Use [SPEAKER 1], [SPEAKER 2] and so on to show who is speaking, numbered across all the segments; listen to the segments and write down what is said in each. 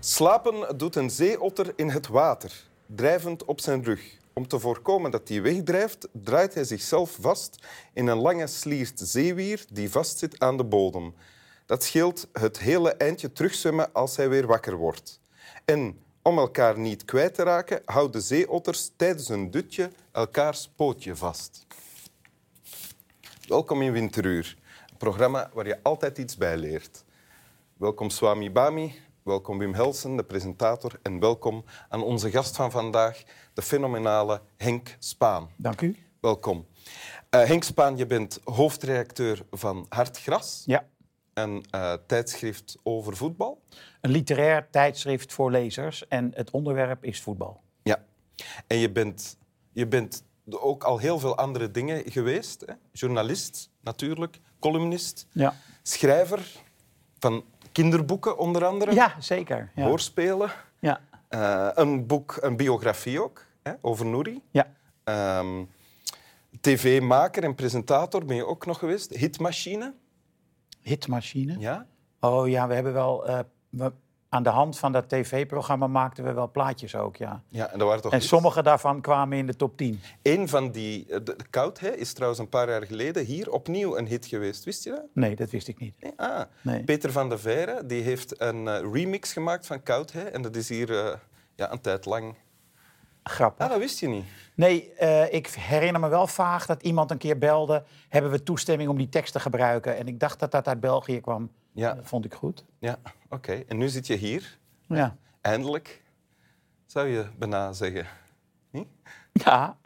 [SPEAKER 1] Slapen doet een zeeotter in het water, drijvend op zijn rug. Om te voorkomen dat hij wegdrijft, draait hij zichzelf vast in een lange sliert zeewier die vastzit aan de bodem. Dat scheelt het hele eindje terugzwemmen als hij weer wakker wordt. En om elkaar niet kwijt te raken, houden zeeotters tijdens een dutje elkaars pootje vast. Welkom in Winteruur, een programma waar je altijd iets bij leert. Welkom Swami Bami, welkom Wim Helsen, de presentator, en welkom aan onze gast van vandaag, de fenomenale Henk Spaan.
[SPEAKER 2] Dank u.
[SPEAKER 1] Welkom. Eh, Henk Spaan, je bent hoofdredacteur van Hartgras,
[SPEAKER 2] Ja.
[SPEAKER 1] een eh, tijdschrift over voetbal.
[SPEAKER 2] Een literair tijdschrift voor lezers en het onderwerp is voetbal.
[SPEAKER 1] Ja. En je bent, je bent ook al heel veel andere dingen geweest. Hè? Journalist natuurlijk, columnist,
[SPEAKER 2] Ja,
[SPEAKER 1] schrijver van kinderboeken onder andere,
[SPEAKER 2] ja zeker. Ja.
[SPEAKER 1] hoorspelen.
[SPEAKER 2] Ja.
[SPEAKER 1] Eh, een boek, een biografie ook, hè, over Nouri.
[SPEAKER 2] ja,
[SPEAKER 1] Ehm, TV-maker en presentator ben je ook nog geweest. Hitmachine.
[SPEAKER 2] hitmachine.
[SPEAKER 1] Ja.
[SPEAKER 2] Oh ja, we hebben wel... eh, we, aan de hand van dat tv-programma maakten we wel plaatjes ook, ja.
[SPEAKER 1] ja, en dat waren toch
[SPEAKER 2] En
[SPEAKER 1] hits?
[SPEAKER 2] sommige daarvan kwamen in de top 10.
[SPEAKER 1] Eén van die, eh, de, de Koud, hè, is trouwens een paar jaar geleden hier opnieuw een hit geweest. Wist je dat?
[SPEAKER 2] Nee, dat wist ik niet.
[SPEAKER 1] Nee? Ah.
[SPEAKER 2] Nee.
[SPEAKER 1] Peter van der Veire die heeft een eh, remix gemaakt van Koud. Hè? En dat is hier eh, ja, een tijd lang.
[SPEAKER 2] Grappig.
[SPEAKER 1] Ah, dat wist je niet.
[SPEAKER 2] Nee, eh, ik herinner me wel vaag dat iemand een keer belde... hebben we toestemming om die tekst te gebruiken? En ik dacht dat dat uit België kwam.
[SPEAKER 1] Ja,
[SPEAKER 2] Dat vond ik goed.
[SPEAKER 1] ja oké. En nu zit je hier.
[SPEAKER 2] Ja.
[SPEAKER 1] Eindelijk, zou je bijna zeggen.
[SPEAKER 2] Ja.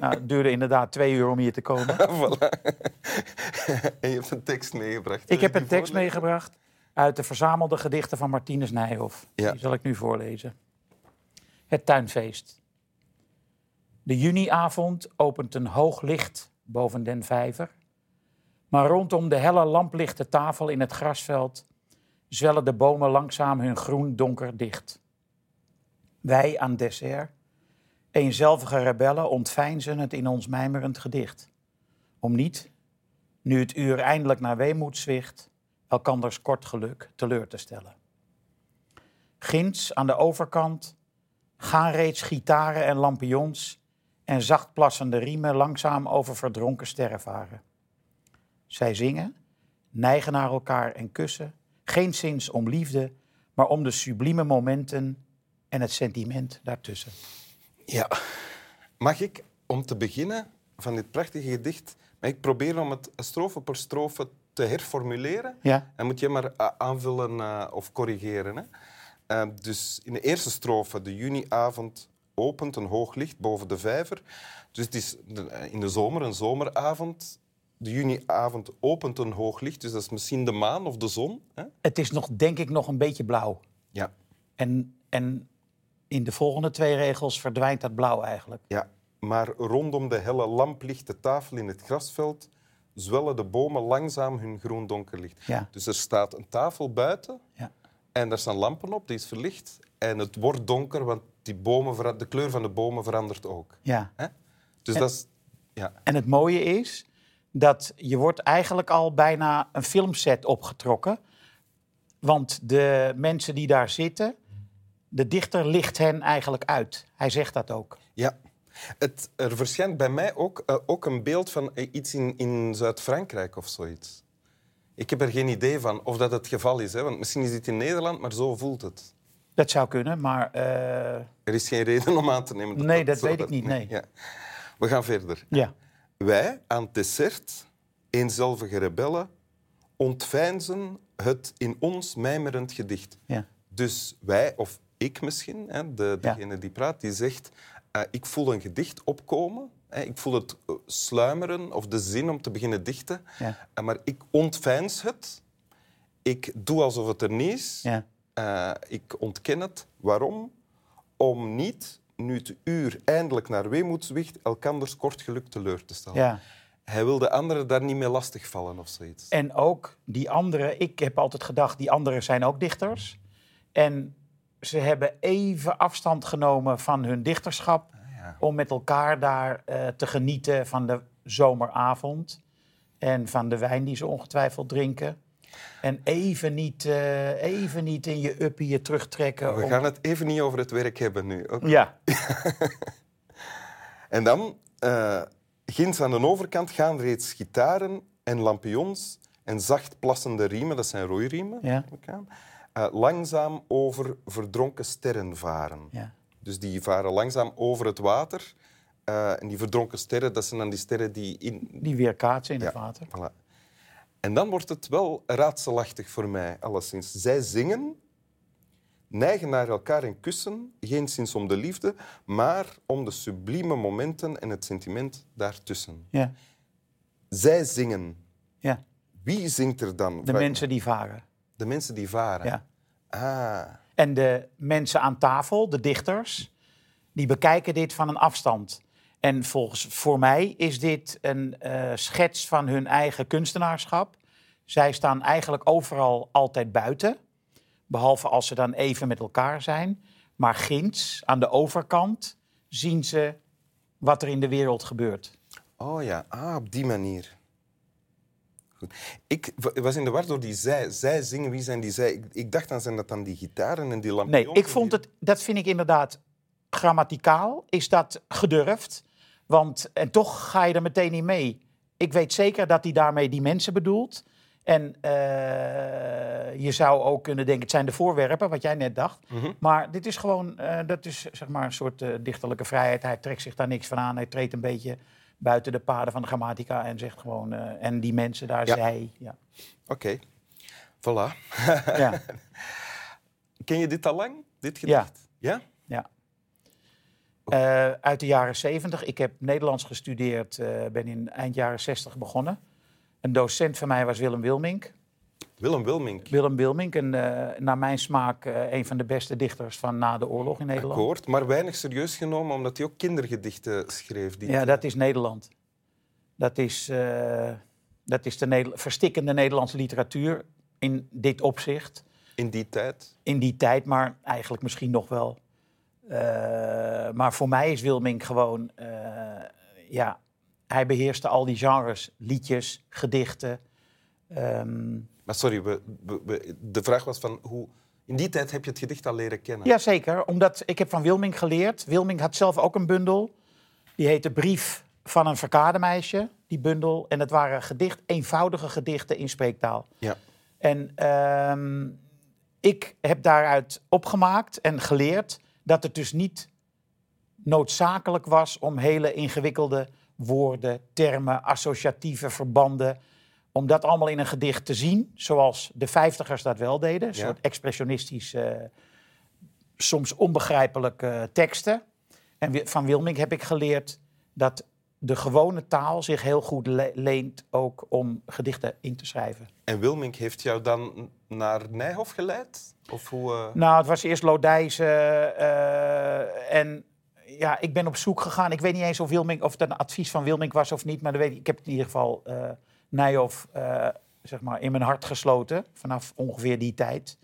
[SPEAKER 2] Nou, het duurde inderdaad twee uur om hier te komen.
[SPEAKER 1] Ah, Voilà. en je hebt een tekst meegebracht. Wil
[SPEAKER 2] Ik
[SPEAKER 1] je
[SPEAKER 2] heb
[SPEAKER 1] eh, die
[SPEAKER 2] een tekst
[SPEAKER 1] voorlezen?
[SPEAKER 2] meegebracht uit de verzamelde gedichten van Martinus Nijhoff.
[SPEAKER 1] Ja.
[SPEAKER 2] Die zal ik nu voorlezen. Het tuinfeest. De juniavond opent een hoog licht boven den vijver. Maar rondom de helle lamplichte tafel in het grasveld zwellen de bomen langzaam hun groen donker dicht. Wij aan dessert, eenzelvige rebellen, ontveinzen het in ons mijmerend gedicht. Om niet, nu het uur eindelijk naar weemoed zwicht, elkanders kort geluk teleur te stellen. Ginds aan de overkant gaan reeds gitaren en lampions en zacht plassende riemen langzaam over verdronken sterren varen. Zij zingen, neigen naar elkaar en kussen, geen zins om liefde, maar om de sublieme momenten en het sentiment daartussen.
[SPEAKER 1] Ja. Mag ik, om te beginnen van dit prachtige gedicht, mag ik proberen om het strofe per strofe te herformuleren?
[SPEAKER 2] Ja,
[SPEAKER 1] En moet je maar a- aanvullen eh, of corrigeren. Hè? Eh, dus in de eerste strofe, de juniavond opent een hoog licht boven de vijver. Dus het is de- in de zomer, een zomeravond. De juniavond opent een hoog licht, dus dat is misschien de maan of de zon. Hè?
[SPEAKER 2] het is nog, denk ik nog een beetje blauw.
[SPEAKER 1] Ja.
[SPEAKER 2] En, en in de volgende twee regels verdwijnt dat blauw eigenlijk.
[SPEAKER 1] ja. Maar rondom de helle lamplichte tafel in het grasveld zwellen de bomen langzaam hun groen donker licht.
[SPEAKER 2] Ja.
[SPEAKER 1] Dus er staat een tafel buiten
[SPEAKER 2] Ja.
[SPEAKER 1] En daar staan lampen op, die is verlicht. En het wordt donker, want die bomen vera- de kleur van de bomen verandert ook.
[SPEAKER 2] ja.
[SPEAKER 1] Hè? Dus
[SPEAKER 2] En-
[SPEAKER 1] dat is... Ja,
[SPEAKER 2] En het mooie is dat je wordt eigenlijk al bijna een filmset opgetrokken. Want de mensen die daar zitten, de dichter licht hen eigenlijk uit. Hij zegt dat ook.
[SPEAKER 1] ja. Het, er verschijnt bij mij ook, eh, ook een beeld van eh, iets in, in Zuid-Frankrijk of zoiets. Ik heb er geen idee van of dat het geval is. Hè? Want misschien is dit in Nederland, maar zo voelt het.
[SPEAKER 2] Dat zou kunnen, maar eh,
[SPEAKER 1] Er is geen reden om aan te nemen.
[SPEAKER 2] Nee, dat
[SPEAKER 1] zo
[SPEAKER 2] weet ik niet, nee.
[SPEAKER 1] Ja. We gaan verder.
[SPEAKER 2] ja.
[SPEAKER 1] Wij aan het dessert, eenzelvige rebellen, ontveinzen het in ons mijmerend gedicht.
[SPEAKER 2] ja.
[SPEAKER 1] Dus wij, of ik misschien, hè, de,
[SPEAKER 2] Ja.
[SPEAKER 1] degene die praat, die zegt... eh, ik voel een gedicht opkomen. Hè, ik voel het eh, sluimeren of de zin om te beginnen dichten.
[SPEAKER 2] Ja.
[SPEAKER 1] Eh, maar ik ontveins het. Ik doe alsof het er niet is.
[SPEAKER 2] ja.
[SPEAKER 1] Eh, ik ontken het. Waarom? Om niet, nu het uur eindelijk naar weemoed zwicht, elkanders kort geluk teleur te stellen.
[SPEAKER 2] ja.
[SPEAKER 1] Hij wil de anderen daar niet mee lastigvallen of zoiets.
[SPEAKER 2] En ook die anderen, ik heb altijd gedacht, die anderen zijn ook dichters. En ze hebben even afstand genomen van hun dichterschap
[SPEAKER 1] Ah, ja.
[SPEAKER 2] om met elkaar daar eh, te genieten van de zomeravond en van de wijn die ze ongetwijfeld drinken. En even niet, eh, even niet in je uppie je terugtrekken.
[SPEAKER 1] Oh, We
[SPEAKER 2] om-
[SPEAKER 1] gaan het even niet over het werk hebben nu. oké?
[SPEAKER 2] Ja,
[SPEAKER 1] En dan, eh ginds aan de overkant gaan reeds gitaren en lampions en zacht plassende riemen, dat zijn roeiriemen,
[SPEAKER 2] Ja.
[SPEAKER 1] neem ik aan, eh, langzaam over verdronken sterren varen.
[SPEAKER 2] ja.
[SPEAKER 1] Dus die varen langzaam over het water. eh, en die verdronken sterren, dat zijn dan die sterren die in...
[SPEAKER 2] die weerkaatsen in het
[SPEAKER 1] Ja.
[SPEAKER 2] water.
[SPEAKER 1] Voilà. En dan wordt het wel raadselachtig voor mij, alleszins. Zij zingen, neigen naar elkaar en kussen, geen sinds om de liefde, maar om de sublieme momenten en het sentiment daartussen.
[SPEAKER 2] Ja,
[SPEAKER 1] Zij zingen.
[SPEAKER 2] ja.
[SPEAKER 1] Wie zingt er dan?
[SPEAKER 2] De mensen die varen.
[SPEAKER 1] de mensen die varen.
[SPEAKER 2] Ja.
[SPEAKER 1] Ah,
[SPEAKER 2] En de mensen aan tafel, de dichters, die bekijken dit van een afstand. En volgens voor mij is dit een eh, schets van hun eigen kunstenaarschap. Zij staan eigenlijk overal altijd buiten, behalve als ze dan even met elkaar zijn. Maar ginds, aan de overkant, zien ze wat er in de wereld gebeurt.
[SPEAKER 1] oh ja, ah, op die manier. Goed. Ik wa- was in de war door die zij. Zij zingen, wie zijn die zij? Ik, ik dacht dan zijn dat dan die gitaren en die lampions.
[SPEAKER 2] Nee, ik vond het, dat vind ik inderdaad grammaticaal, is dat gedurfd. Want, en toch ga je er meteen in mee. Ik weet zeker dat hij daarmee die mensen bedoelt. En eh, je zou ook kunnen denken, het zijn de voorwerpen, wat jij net dacht. Maar dit is gewoon, eh, dat is zeg maar een soort eh, dichterlijke vrijheid. Hij trekt zich daar niks van aan. Hij treedt een beetje buiten de paden van de grammatica en zegt gewoon, eh, en die mensen daar,
[SPEAKER 1] Ja.
[SPEAKER 2] zij. Ja.
[SPEAKER 1] Oké, voilà.
[SPEAKER 2] ja,
[SPEAKER 1] Ken je dit al lang, dit
[SPEAKER 2] ja.
[SPEAKER 1] gedicht? Ja.
[SPEAKER 2] Ja. Eh, uit de jaren 70. Ik heb Nederlands gestudeerd, eh, ben in eind jaren 60 begonnen. Een docent van mij was Willem Wilmink.
[SPEAKER 1] Willem Wilmink.
[SPEAKER 2] Willem Wilmink, een, eh, naar mijn smaak eh, een van de beste dichters van na de oorlog in Nederland.
[SPEAKER 1] Akkoord, maar weinig serieus genomen, omdat hij ook kindergedichten schreef. Die...
[SPEAKER 2] Ja, dat is Nederland. Dat is, eh, dat is de Neder- verstikkende Nederlandse literatuur in dit opzicht.
[SPEAKER 1] In die tijd.
[SPEAKER 2] in die tijd, maar eigenlijk misschien nog wel. Eh, maar voor mij is Wilming gewoon, eh, ja, hij beheerste al die genres, liedjes, gedichten. Ehm,
[SPEAKER 1] Maar sorry, we, we- we- de vraag was van hoe... In die tijd heb je het gedicht al leren kennen.
[SPEAKER 2] ja, zeker, omdat ik heb van Wilming geleerd. Wilming had zelf ook een bundel, die heette Brief van een verkademeisje, die bundel. En het waren gedicht, eenvoudige gedichten in spreektaal.
[SPEAKER 1] Ja.
[SPEAKER 2] En ehm, ik heb daaruit opgemaakt en geleerd dat het dus niet noodzakelijk was om hele ingewikkelde woorden, termen, associatieve verbanden, om dat allemaal in een gedicht te zien, zoals de vijftigers dat wel deden, een
[SPEAKER 1] Ja.
[SPEAKER 2] soort expressionistische, eh, soms onbegrijpelijke teksten. En wi- van Wilming heb ik geleerd dat de gewone taal zich heel goed le- leent ook om gedichten in te schrijven.
[SPEAKER 1] En Wilmink heeft jou dan naar Nijhof geleid? Of hoe... eh,
[SPEAKER 2] Nou, het was eerst Lodijzen. eh, en ja, ik ben op zoek gegaan. Ik weet niet eens of, Wilming, of dat een advies van Wilming was of niet. Maar dat weet ik, ik heb het in ieder geval eh Nijhoff eh, zeg maar, in mijn hart gesloten. Vanaf ongeveer die tijd.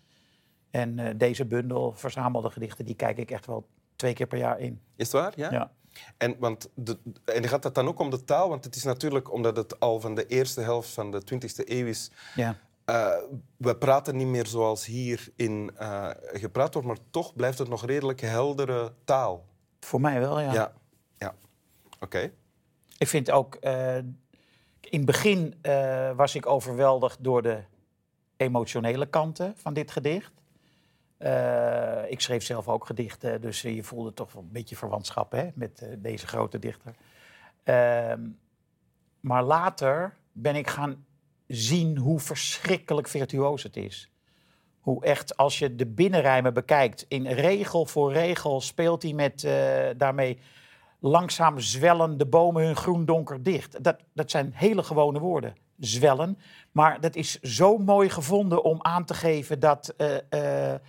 [SPEAKER 2] En eh, deze bundel verzamelde gedichten, die kijk ik echt wel twee keer per jaar in.
[SPEAKER 1] Is het waar? Ja.
[SPEAKER 2] Ja.
[SPEAKER 1] En, want de, en gaat dat dan ook om de taal? Want het is natuurlijk, omdat het al van de eerste helft van de 20e eeuw is,
[SPEAKER 2] ja.
[SPEAKER 1] eh, we praten niet meer zoals hier in eh, gepraat wordt, maar toch blijft het nog redelijk heldere taal.
[SPEAKER 2] Voor mij wel,
[SPEAKER 1] Ja. Ja. Oké.
[SPEAKER 2] Eh, Ik vind ook, eh, in het begin eh, was ik overweldigd door de emotionele kanten van dit gedicht. Eh, ik schreef zelf ook gedichten, dus eh, je voelde toch wel een beetje verwantschap hè, met eh, deze grote dichter. Ehm, maar later ben ik gaan zien hoe verschrikkelijk virtuoos het is. Hoe echt, als je de binnenrijmen bekijkt, in regel voor regel speelt hij met, eh, daarmee langzaam zwellen de bomen hun groen donker dicht. Dat, dat zijn hele gewone woorden, zwellen. Maar dat is zo mooi gevonden om aan te geven dat, eh, eh,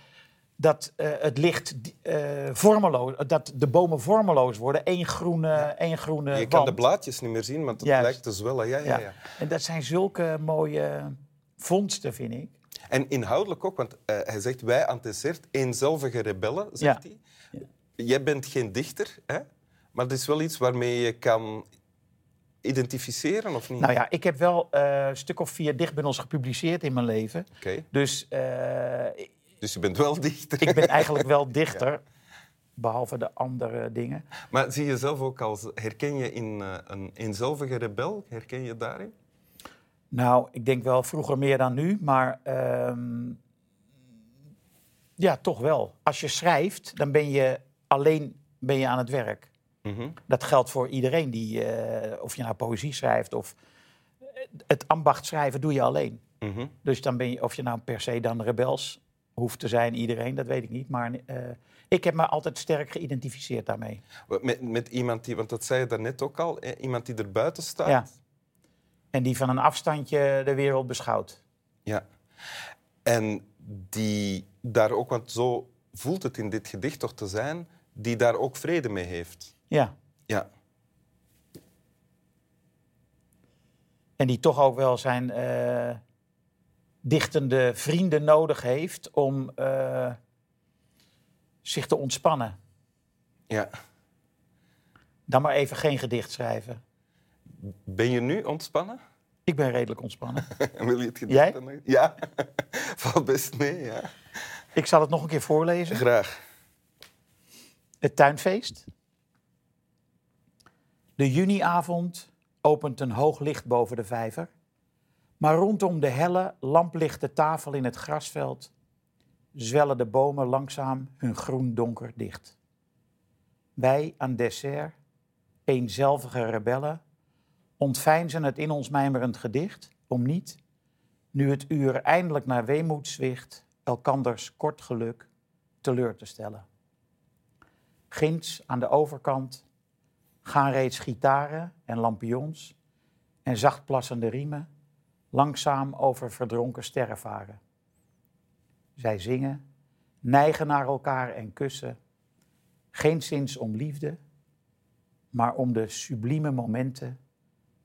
[SPEAKER 2] dat eh, het licht eh, vormeloos, dat de bomen vormeloos worden. Eén groene, één groene
[SPEAKER 1] Je kan
[SPEAKER 2] wand.
[SPEAKER 1] de blaadjes niet meer zien, want het
[SPEAKER 2] Juist.
[SPEAKER 1] lijkt te zwellen. Ja, ja,
[SPEAKER 2] Ja.
[SPEAKER 1] ja.
[SPEAKER 2] En dat zijn zulke mooie vondsten, vind ik.
[SPEAKER 1] En inhoudelijk ook, want eh, hij zegt wij anteceert eenzelvige rebellen, zegt
[SPEAKER 2] Ja.
[SPEAKER 1] hij. Jij bent geen dichter, hè? maar het is wel iets waarmee je kan identificeren of niet?
[SPEAKER 2] Nou ja, ik heb wel eh, een stuk of vier dichtbundels gepubliceerd in mijn leven.
[SPEAKER 1] Oké,
[SPEAKER 2] Dus eh,
[SPEAKER 1] dus je bent wel dichter.
[SPEAKER 2] ik ben eigenlijk wel dichter, behalve de andere dingen.
[SPEAKER 1] Maar zie je zelf ook als... Herken je in eh, een eenzelvige rebel? Herken je daarin?
[SPEAKER 2] Nou, ik denk wel vroeger meer dan nu, maar ehm, ja, toch wel. Als je schrijft, dan ben je alleen ben je aan het werk.
[SPEAKER 1] Mhm.
[SPEAKER 2] Dat geldt voor iedereen die, eh, of je nou poëzie schrijft of het ambacht schrijven doe je alleen.
[SPEAKER 1] Mhm.
[SPEAKER 2] Dus dan ben je, of je nou per se dan rebels hoeft te zijn, iedereen, dat weet ik niet. Maar eh, ik heb me altijd sterk geïdentificeerd daarmee.
[SPEAKER 1] Wat- Met, met iemand die, want dat zei je daarnet ook al, eh, iemand die er buiten staat.
[SPEAKER 2] Ja. En die van een afstandje de wereld beschouwt.
[SPEAKER 1] Ja. En die daar ook, want zo voelt het in dit gedicht toch te zijn, die daar ook vrede mee heeft.
[SPEAKER 2] Ja.
[SPEAKER 1] Ja.
[SPEAKER 2] En die toch ook wel zijn eh, dichtende vrienden nodig heeft om eh, zich te ontspannen.
[SPEAKER 1] ja.
[SPEAKER 2] Dan maar even geen gedicht schrijven.
[SPEAKER 1] Ben je nu ontspannen?
[SPEAKER 2] Ik ben redelijk ontspannen.
[SPEAKER 1] Wil je het gedicht
[SPEAKER 2] Jij?
[SPEAKER 1] dan nog- Ja. Valt best mee, ja.
[SPEAKER 2] Ik zal het nog een keer voorlezen.
[SPEAKER 1] Graag.
[SPEAKER 2] Het tuinfeest. De juniavond opent een hoog licht boven de vijver. Maar rondom de helle, lamplichte tafel in het grasveld zwellen de bomen langzaam hun groen donker dicht. Wij aan dessert, eenzelvige rebellen, ontveinzen het in ons mijmerend gedicht om niet, nu het uur eindelijk naar weemoed zwicht, elkanders kort geluk teleur te stellen. Ginds aan de overkant gaan reeds gitaren en lampions en zacht plassende riemen langzaam over verdronken sterren varen. Zij zingen, neigen naar elkaar en kussen, geen zins om liefde, maar om de sublieme momenten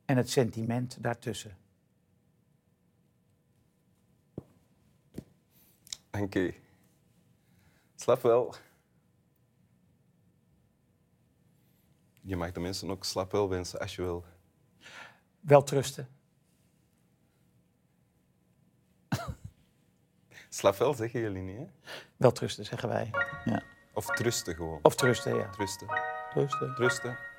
[SPEAKER 2] en het sentiment daartussen.
[SPEAKER 1] Oké. Slaap wel. Je mag de mensen ook slaap wel wensen als je wil.
[SPEAKER 2] Wel trusten.
[SPEAKER 1] Slaap wel zeggen jullie niet, hè?
[SPEAKER 2] Wel trusten, zeggen wij. Ja.
[SPEAKER 1] Of trusten gewoon.
[SPEAKER 2] Of trusten, ja.
[SPEAKER 1] Trusten.
[SPEAKER 2] Trusten.
[SPEAKER 1] Trusten.